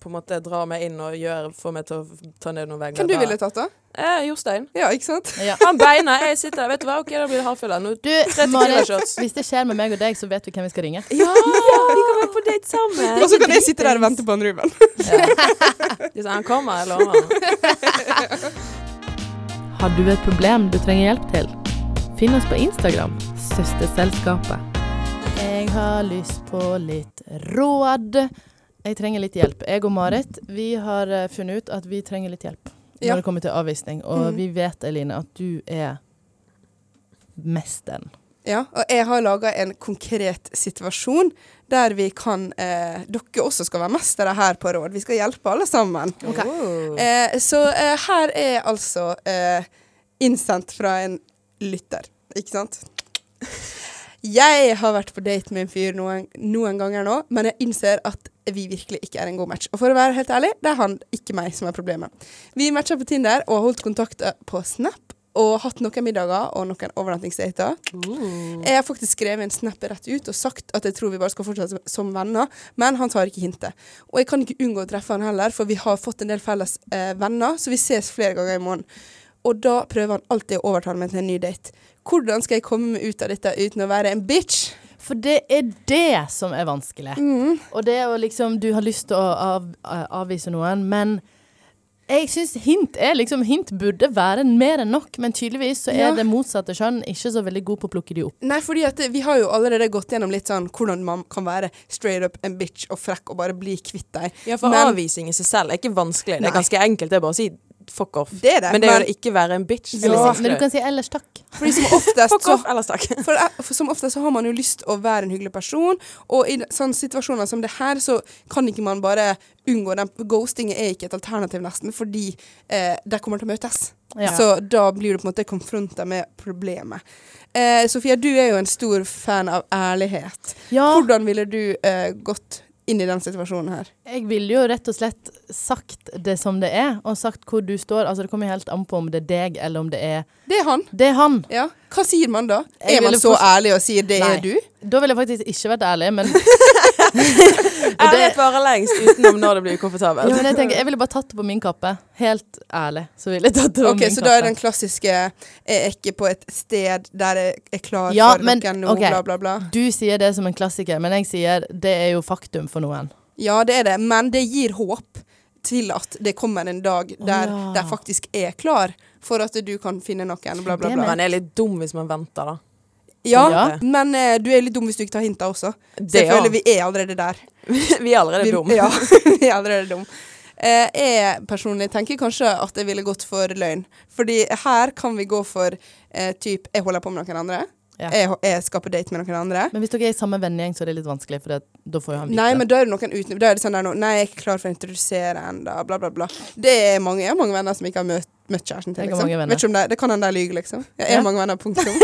Speaker 4: på en måte drar meg inn og gjør, får meg til å ta ned noen vegger
Speaker 2: Hvem du
Speaker 4: da-
Speaker 2: ville tatt, da?
Speaker 4: Eh, Jostein.
Speaker 2: Ja, ikke sant?
Speaker 5: Ja.
Speaker 4: Han beina, jeg sitter der. Vet du hva, OK, da blir det hardfylla. Nå
Speaker 5: Du,
Speaker 4: 30
Speaker 5: Mari,
Speaker 4: kiloshots.
Speaker 5: hvis det skjer med meg og deg, så vet vi hvem vi skal ringe.
Speaker 4: Ja, vi kan være på date sammen.
Speaker 2: Og så kan jeg sitte der og vente på han Ruben.
Speaker 4: De sa, sånn, Han kommer, jeg lover.
Speaker 5: Har du et problem du trenger hjelp til? Finn oss på Instagram, Søsterselskapet. Jeg har lyst på litt råd. Jeg trenger litt hjelp. Jeg og Marit vi har eh, funnet ut at vi trenger litt hjelp
Speaker 2: Ja.
Speaker 5: når det kommer til avvisning. Og
Speaker 2: Mhm.
Speaker 5: vi vet, Eline, at du er mesteren.
Speaker 2: Ja, og jeg har laga en konkret situasjon der vi kan eh, Dere også skal være mestere her på råd. Vi skal hjelpe alle sammen. Eh, så eh, her er altså eh, innsendt fra en lytter, ikke sant? Jeg har vært på date med en fyr noen, noen ganger nå, men jeg innser at vi virkelig ikke er en god match. Og for å være helt ærlig, det er han, ikke meg, som er problemet. Vi matcha på Tinder og har holdt kontakt eh, på Snap og hatt noen middager og noen overnattingsdater. Jeg har faktisk skrevet en snap rett ut og sagt at jeg tror vi bare skal fortsette som- som venner, men han tar ikke hintet. Og jeg kan ikke unngå å treffe han heller, for vi har fått en del felles eh, venner, så vi ses flere ganger i måneden. Og da prøver han alltid å overtale meg til en ny date. Hvordan skal jeg komme meg ut av dette uten å være en bitch?
Speaker 5: For det er det som er vanskelig.
Speaker 2: Mm.
Speaker 5: Og det å liksom Du har lyst til å av, avvise noen, men jeg syns hint er liksom Hint burde være mer enn nok, men tydeligvis så er
Speaker 2: Ja.
Speaker 5: det motsatte kjønn ikke så veldig god på å plukke de opp.
Speaker 2: Nei, fordi at eh, vi har jo allerede gått gjennom litt sånn hvordan man kan være straight up en bitch og frekk og bare bli kvitt deg.
Speaker 4: Ja, for
Speaker 2: Men-
Speaker 4: avvisning i seg selv er ikke vanskelig. Det
Speaker 2: Nei.
Speaker 4: er ganske enkelt. Det er bare å si fuck off.
Speaker 2: Det er det,
Speaker 4: men det er
Speaker 2: men-
Speaker 4: jo å ikke være en bitch. liksom.
Speaker 2: Ja, men du kan
Speaker 5: si ellers takk.
Speaker 2: Fordi som oftest
Speaker 4: Fuck off, ellers takk.
Speaker 2: For, eh, for som oftest så har man jo lyst å være en hyggelig person, og i sånne situasjoner som det her, så kan ikke man bare unngå den. Ghosting er ikke et alternativ, nesten, fordi eh, de kommer til å møtes.
Speaker 5: Ja.
Speaker 2: Så da blir du på en måte konfronta med problemet. Eh, Sofia, du er jo en stor fan av ærlighet. Hvordan ville du eh, gått inn i den situasjonen her?
Speaker 5: Jeg ville jo rett og slett sagt det som det er, og sagt hvor du står. Altså Det kommer helt an på om det er deg, eller om det er
Speaker 2: Det er han.
Speaker 5: Det er han.
Speaker 2: Ja. Hva sier man da?
Speaker 5: Jeg
Speaker 2: er man
Speaker 5: ville
Speaker 2: så
Speaker 5: forst-
Speaker 2: ærlig og sier 'det
Speaker 5: Nei.
Speaker 2: er du'?
Speaker 5: Da ville jeg faktisk ikke vært ærlig, men
Speaker 4: Ærlighet varer lengst utenom når det blir ukomfortabelt.
Speaker 5: Ja, men jeg tenker, jeg ville bare tatt det på min kappe. Helt ærlig. Så ville jeg tatt det på
Speaker 2: Ok,
Speaker 5: min
Speaker 2: Så
Speaker 5: kappe.
Speaker 2: da er den klassiske 'jeg er ikke på et sted der jeg er klar
Speaker 5: ja,
Speaker 2: for
Speaker 5: men,
Speaker 2: noen nå',
Speaker 5: ok,
Speaker 2: bla, bla, bla.
Speaker 5: Du sier det som en klassiker, men jeg sier det er jo faktum for noen.
Speaker 2: Ja, det er det, men det gir håp til at det kommer en dag der
Speaker 4: ja.
Speaker 2: de faktisk er klar for at du kan finne noen, bla, bla, bla.
Speaker 4: Man er litt dum hvis man venter, da.
Speaker 2: ja,
Speaker 4: Ja.
Speaker 2: men eh, du er litt dum hvis du ikke tar hinta også. Så jeg
Speaker 4: ja.
Speaker 2: føler vi er allerede der.
Speaker 4: Vi er allerede
Speaker 2: Vi-
Speaker 4: dum.
Speaker 2: Ja, vi er allerede dum. Eh, jeg personlig tenker kanskje at jeg ville gått for løgn. Fordi her kan vi gå for eh, typ 'jeg holder på med noen andre'.
Speaker 5: Ja.
Speaker 2: Jeg, jeg skal på date med noen andre.
Speaker 5: Men hvis dere er i samme vennegjeng, så er det litt vanskelig, for det, da får jo han vite
Speaker 2: Nei, men da er det noen uten Da er det sånn der nå Nei, jeg er ikke klar for å introdusere enda Bla, bla, bla Det er mange Jeg har mange venner som ikke har møtt, møtt kjæresten til
Speaker 5: Jeg har
Speaker 2: liksom.
Speaker 5: mange
Speaker 2: Vet
Speaker 5: venner.
Speaker 2: ikke om det Det kan en der lyge liksom Jeg er
Speaker 5: Ja.
Speaker 2: mange venner, punktum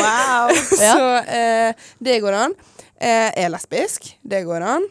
Speaker 4: Wow
Speaker 2: Så eh, det går an eh, Jeg er lesbisk Det går an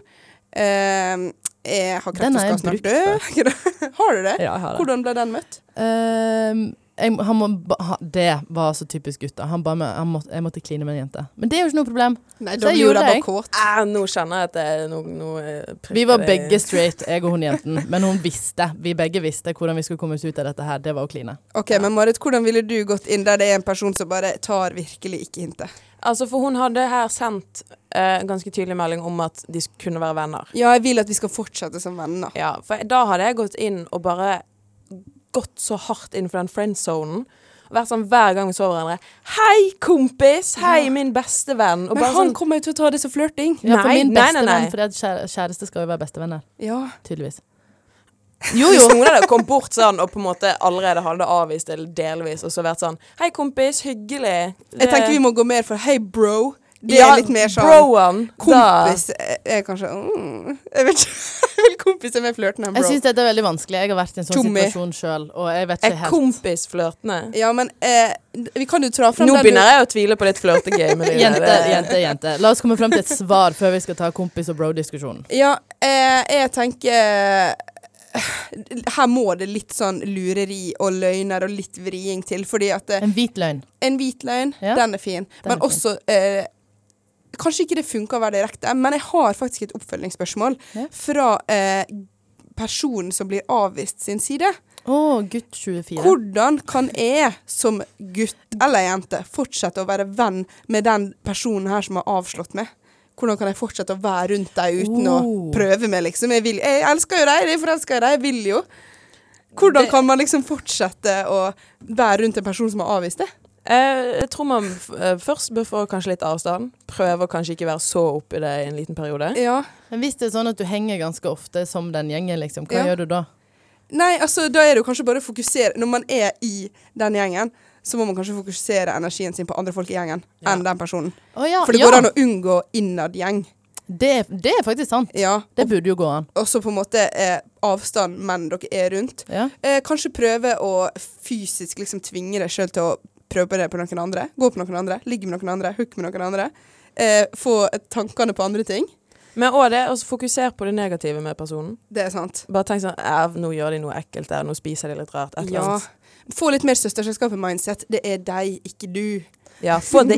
Speaker 2: eh, Jeg har kreft
Speaker 5: Den
Speaker 2: og
Speaker 5: har jeg
Speaker 2: skal snart
Speaker 5: brukt
Speaker 2: dø Har du det?
Speaker 5: Ja, jeg har det.
Speaker 2: Hvordan ble den møtt?
Speaker 5: Ehm, jeg, han må, ba- ha, det var så typisk gutta. Han ba meg, han må, jeg måtte kline med en jente. Men det er jo ikke noe problem.
Speaker 2: Nei,
Speaker 5: så jeg gjorde det. jeg.
Speaker 4: Ah, nå kjenner jeg at det er noe eh, no,
Speaker 5: Vi var begge straight, jeg og hun jenten. Men hun visste, vi begge visste hvordan vi skulle komme oss ut av dette her. Det var å kline.
Speaker 2: Ok, men Marit, hvordan ville du gått inn der det er en person som bare tar virkelig ikke hintet?
Speaker 4: Altså, for hun hadde her sendt eh, ganske tydelig melding om at de sk- kunne være venner.
Speaker 2: Ja, jeg vil at vi skal fortsette som venner.
Speaker 4: Ja, for da hadde jeg gått inn og bare gått så hardt inn for den friendzonen. Vært sånn hver gang vi så hverandre. Hei, kompis! Hei, min beste venn! Og
Speaker 2: Men
Speaker 4: bare
Speaker 2: han
Speaker 4: sånn,
Speaker 2: kommer jo til å ta det som flørting
Speaker 5: Ja, for
Speaker 4: Nei,
Speaker 5: min
Speaker 4: nei, nei,
Speaker 5: beste
Speaker 4: nei.
Speaker 5: venn, fordi at kjære- kjæreste skal jo være bestevenner.
Speaker 2: Ja.
Speaker 5: Tydeligvis.
Speaker 4: Hvis noen hadde kommet bort sånn og på en måte allerede hadde avvist det delvis, og så vært sånn Hei, kompis. Hyggelig.
Speaker 2: Jeg tenker vi må gå mer for hei, bro. Det
Speaker 4: Ja,
Speaker 2: er litt mer sånn
Speaker 4: broen, da.
Speaker 2: Kompis er- er kanskje mm, Jeg vet ikke. Jeg vil kompis er mer flørtende enn
Speaker 5: Jeg syns
Speaker 2: bro.
Speaker 5: dette er veldig vanskelig. Jeg har vært i en sånn
Speaker 2: Tommy.
Speaker 5: situasjon sjøl, og jeg vet ikke
Speaker 4: Er
Speaker 5: helt.
Speaker 4: kompis flørtende?
Speaker 2: Ja, men eh, vi kan jo tra fram
Speaker 4: Nå
Speaker 2: den
Speaker 4: begynner jeg å tvile på ditt flørtegamet. Line.
Speaker 5: Jente,
Speaker 4: Det-
Speaker 5: jente, jente. La oss komme fram til et svar før vi skal ta kompis- og bro-diskusjonen.
Speaker 2: Ja, eh, jeg tenker eh, Her må det litt sånn lureri og løgner og litt vriing til, fordi at eh,
Speaker 5: En hvit løgn.
Speaker 2: En hvit løgn,
Speaker 5: Ja.
Speaker 2: den er fin.
Speaker 5: Den
Speaker 2: men
Speaker 5: er fin.
Speaker 2: også eh, Kanskje ikke det funker å være direkte, men jeg har faktisk et oppfølgingsspørsmål fra eh, personen som blir avvist sin side.
Speaker 5: Å, gutt 24.
Speaker 2: Hvordan kan jeg som gutt eller jente fortsette å være venn med den personen her som har avslått meg? Hvordan kan jeg fortsette å være rundt deg uten
Speaker 5: Oh.
Speaker 2: å prøve meg, liksom? Jeg, vil, jeg elsker jo deg, jeg forelsker i deg, jeg vil jo. Hvordan kan man liksom fortsette å være rundt en person som har avvist det?
Speaker 4: Eh, jeg tror man f eh, først bør få kanskje litt avstand. Prøve å kanskje ikke være så oppi det i en liten periode.
Speaker 5: Men hvis det er sånn at du henger ganske ofte som den gjengen, liksom, hva
Speaker 2: Ja.
Speaker 5: gjør du da?
Speaker 2: Nei, altså da er det jo kanskje bare å fokusere Når man er i den gjengen så må man kanskje fokusere energien sin på andre folk i gjengen enn den personen.
Speaker 5: Å ja,
Speaker 2: For det
Speaker 5: ja.
Speaker 2: går an å unngå innad gjeng.
Speaker 5: Det, er- det er faktisk sant.
Speaker 2: Ja.
Speaker 5: Det burde jo gå an.
Speaker 2: Og så på en måte eh, avstand menn dere er rundt.
Speaker 5: Ja.
Speaker 2: Eh, kanskje prøve å fysisk liksom tvinge deg sjøl til å prøve på det på noen andre. Gå på noen andre, ligge med noen andre, hooke med noen andre. Eh, få tankene på andre ting.
Speaker 4: Men òg det, altså fokuser på det negative med personen.
Speaker 2: Det er sant.
Speaker 4: Bare tenk sånn "Æ, Nå gjør de noe ekkelt der, nå spiser de litt rart. Et eller
Speaker 2: Ja.
Speaker 4: annet.
Speaker 2: Få litt mer søsterselskapet-mindset. Det er deg, ikke du.
Speaker 4: Ja, få det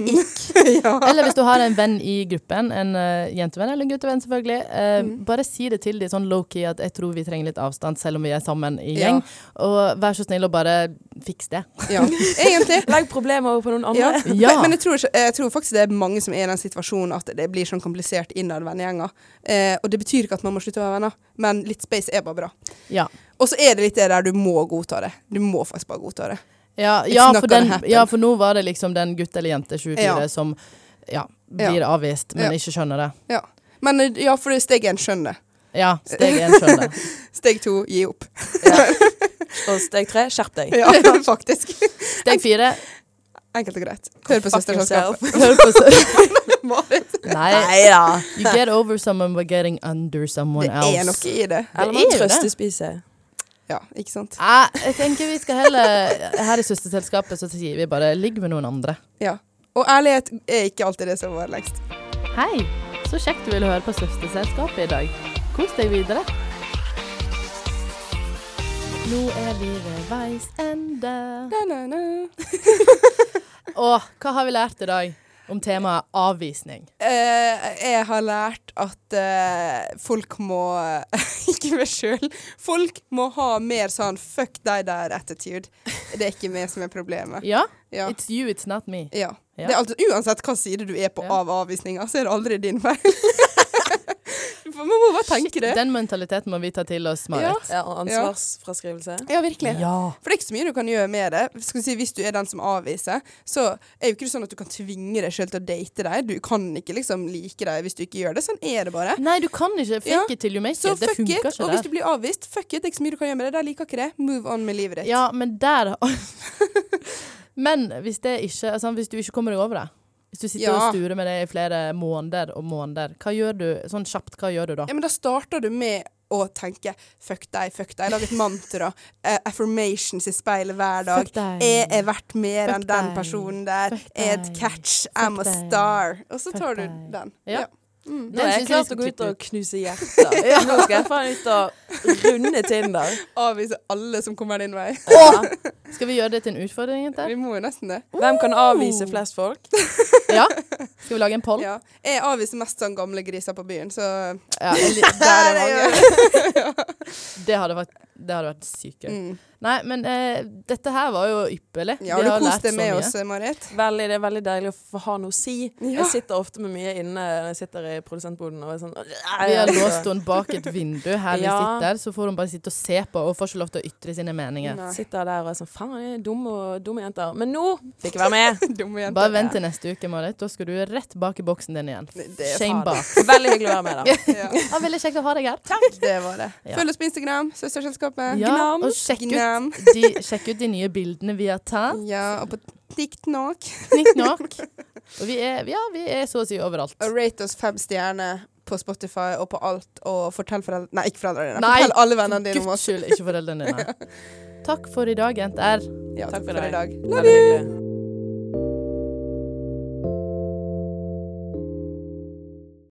Speaker 4: ikk.
Speaker 5: Eller hvis du har en venn i gruppen, en eh, jentevenn eller en guttevenn selvfølgelig, eh,
Speaker 2: Mm.
Speaker 5: bare si det til de sånn low-key at jeg tror vi trenger litt avstand selv om vi er sammen i
Speaker 2: Ja.
Speaker 5: gjeng. Og vær så snill og bare fiks det.
Speaker 2: Ja, egentlig.
Speaker 4: Legg problemet over på noen
Speaker 2: Ja.
Speaker 4: andre.
Speaker 5: Ja.
Speaker 2: Men, men jeg, tror, ikke- jeg tror faktisk det er mange som er i den situasjonen at det blir sånn komplisert innad vennegjenger. Eh, og det betyr ikke at man må slutte å være venner, men litt space er bare bra.
Speaker 5: Ja.
Speaker 2: Og så er det litt det der du må godta det. Du må faktisk bare godta det.
Speaker 5: Ja,
Speaker 2: It's
Speaker 5: ja,
Speaker 2: not
Speaker 5: for
Speaker 2: gonna
Speaker 5: den,
Speaker 2: happen.
Speaker 5: ja, for nå var det liksom den gutt eller jente 24
Speaker 2: Ja.
Speaker 5: som ja,
Speaker 2: Ja.
Speaker 5: blir avvist,
Speaker 2: Ja.
Speaker 5: men ikke skjønner det.
Speaker 2: Ja. Men eh, ja, for det er steg én skjønner det.
Speaker 5: Ja, steg én skjønner.
Speaker 2: Steg to gi opp.
Speaker 4: Og steg tre skjerp deg.
Speaker 2: Ja, faktisk.
Speaker 5: Steg fire
Speaker 2: Enkelt og greit. Hør på
Speaker 4: Fuck yourself.
Speaker 2: søsterselskapet.
Speaker 5: Hør på
Speaker 2: sø- Marit.
Speaker 5: Nei.
Speaker 4: Neida.
Speaker 5: You get over someone by getting under someone
Speaker 2: Det
Speaker 5: else.
Speaker 2: er noe i det.
Speaker 5: Det er jo det.
Speaker 4: spiser.
Speaker 2: Ja, ikke sant.
Speaker 5: Nei, jeg tenker vi skal heller Her i søsterselskapet så sier vi bare 'ligg med noen andre'.
Speaker 2: Ja. Og ærlighet er ikke alltid det som var lengst.
Speaker 5: Hei, så kjekt du ville høre på Søsterselskapet i dag. Kos deg videre. Nå er vi ved veis ende. Og hva har vi lært i dag om temaet avvisning?
Speaker 2: Eh, jeg har lært at eh, folk må Ikke meg sjøl. Folk må ha mer sånn 'fuck deg der'-attitude. Det er ikke meg som er problemet.
Speaker 5: Ja?
Speaker 2: Ja.
Speaker 5: It's you, it's not me.
Speaker 2: Ja.
Speaker 5: Ja.
Speaker 2: Det er alltid, uansett hva side du er på av avvisninga, så er det aldri din feil. Man må bare tenke det.
Speaker 5: Den mentaliteten må vi ta til oss, Marit.
Speaker 4: Ja, og ansvarsfraskrivelse.
Speaker 2: Ja, virkelig.
Speaker 5: Ja.
Speaker 2: For det er ikke så mye du kan gjøre med det. Skal vi si, hvis du er den som avviser, så er jo ikke det sånn at du kan tvinge deg sjøl til å date deg. Du kan ikke liksom like deg hvis du ikke gjør det. Sånn er det bare.
Speaker 5: Nei, du kan ikke fake
Speaker 2: Ja.
Speaker 5: it till you make
Speaker 2: Så
Speaker 5: it. Det
Speaker 2: fuck
Speaker 5: funker
Speaker 2: it.
Speaker 5: ikke
Speaker 2: Og hvis du
Speaker 5: der.
Speaker 2: blir avvist, fuck it. Det er ikke så mye du kan gjøre med det. Der liker ikke det. Move on med livet ditt.
Speaker 5: Ja, men der Men hvis det ikke altså, Hvis du ikke kommer deg over det Hvis du sitter
Speaker 2: Ja.
Speaker 5: og sturer med det i flere måneder og måneder, hva gjør du sånn kjapt? Hva gjør du da?
Speaker 2: Ja, men da starter du med å tenke 'fuck deg, fuck deg'. Lag et mantra. Eh, affirmations i speilet hver dag. Eh,
Speaker 5: Fuck deg.
Speaker 2: Jeg er verdt mer
Speaker 5: Fuck
Speaker 2: enn den
Speaker 5: deg.
Speaker 2: personen der.
Speaker 5: Fuck
Speaker 2: Jeg er et
Speaker 5: deg.
Speaker 2: catch.
Speaker 5: Fuck
Speaker 2: I'm a
Speaker 5: deg.
Speaker 2: star. Og så
Speaker 5: Fuck
Speaker 2: tar du
Speaker 5: deg.
Speaker 2: den.
Speaker 5: Ja.
Speaker 2: Mm.
Speaker 4: Nå er jeg
Speaker 5: synes jeg
Speaker 4: klar
Speaker 5: vi
Speaker 4: til å gå
Speaker 5: skal
Speaker 4: ut
Speaker 5: klippe
Speaker 4: og knuse hjerter. Nå skal jeg faen ut og runde Tinder.
Speaker 2: Avvise alle som kommer din vei.
Speaker 5: Skal vi gjøre det til en utfordring? Jenter?
Speaker 2: Vi må jo nesten det.
Speaker 4: Hvem kan avvise flest folk?
Speaker 5: Ja? Skal vi lage en poll?
Speaker 2: Ja. Jeg avviser mest sånn gamle griser på byen, så
Speaker 5: Ja, jeg li-
Speaker 2: der er det mange.
Speaker 5: Det hadde vært, det hadde vært sykt gøy. Nei, men eh, dette her var jo ypperlig.
Speaker 2: Ja, har
Speaker 5: Vi har
Speaker 2: du
Speaker 5: lært
Speaker 2: kost deg
Speaker 5: så
Speaker 2: med
Speaker 5: mye.
Speaker 2: oss, Marit?
Speaker 4: Veldig, det er veldig deilig å få ha noe å si.
Speaker 2: Ja.
Speaker 4: Jeg sitter ofte med mye inne når jeg sitter i produsentboden og er sånn
Speaker 5: Vi har låst henne bak et vindu her vi
Speaker 4: Ja.
Speaker 5: sitter, så får hun bare sitte og se på og får ikke lov til å ytre sine meninger.
Speaker 4: Sitter der og er sånn Faen, jeg er dumme, og- dumme jenter. Men nå fikk jeg være med.
Speaker 2: Dumme jenter.
Speaker 5: Bare vent til neste uke, Marit. Da skal du rett bak i boksen din igjen.
Speaker 2: det er
Speaker 5: Shame
Speaker 4: faen.
Speaker 5: box.
Speaker 4: Veldig hyggelig å være med, da.
Speaker 2: Ja.
Speaker 5: Ja, veldig kjekt å ha deg her.
Speaker 2: Det var det.
Speaker 5: Ja.
Speaker 2: Følg oss på Instagram, Søsterselskapet.
Speaker 5: Ja,
Speaker 2: Gnam.
Speaker 5: og sjekk
Speaker 2: Gnam.
Speaker 5: ut, de, sjekk ut de nye bildene vi har tatt.
Speaker 2: Ja, og på TikTok.
Speaker 5: Snikk nok. Og vi er, ja, vi er så å si overalt.
Speaker 2: Og rate oss fem stjerner på Spotify og på alt, og fortell foreldre Nei, ikke foreldrene dine.
Speaker 5: Nei,
Speaker 2: Fortell alle vennene dine om
Speaker 5: Guds
Speaker 2: oss.
Speaker 5: skyld, ikke foreldrene dine. Takk for i dag, jenter.
Speaker 2: Ja, takk
Speaker 4: for
Speaker 2: for i
Speaker 4: deg.
Speaker 2: dag.
Speaker 4: Veldig hyggelig.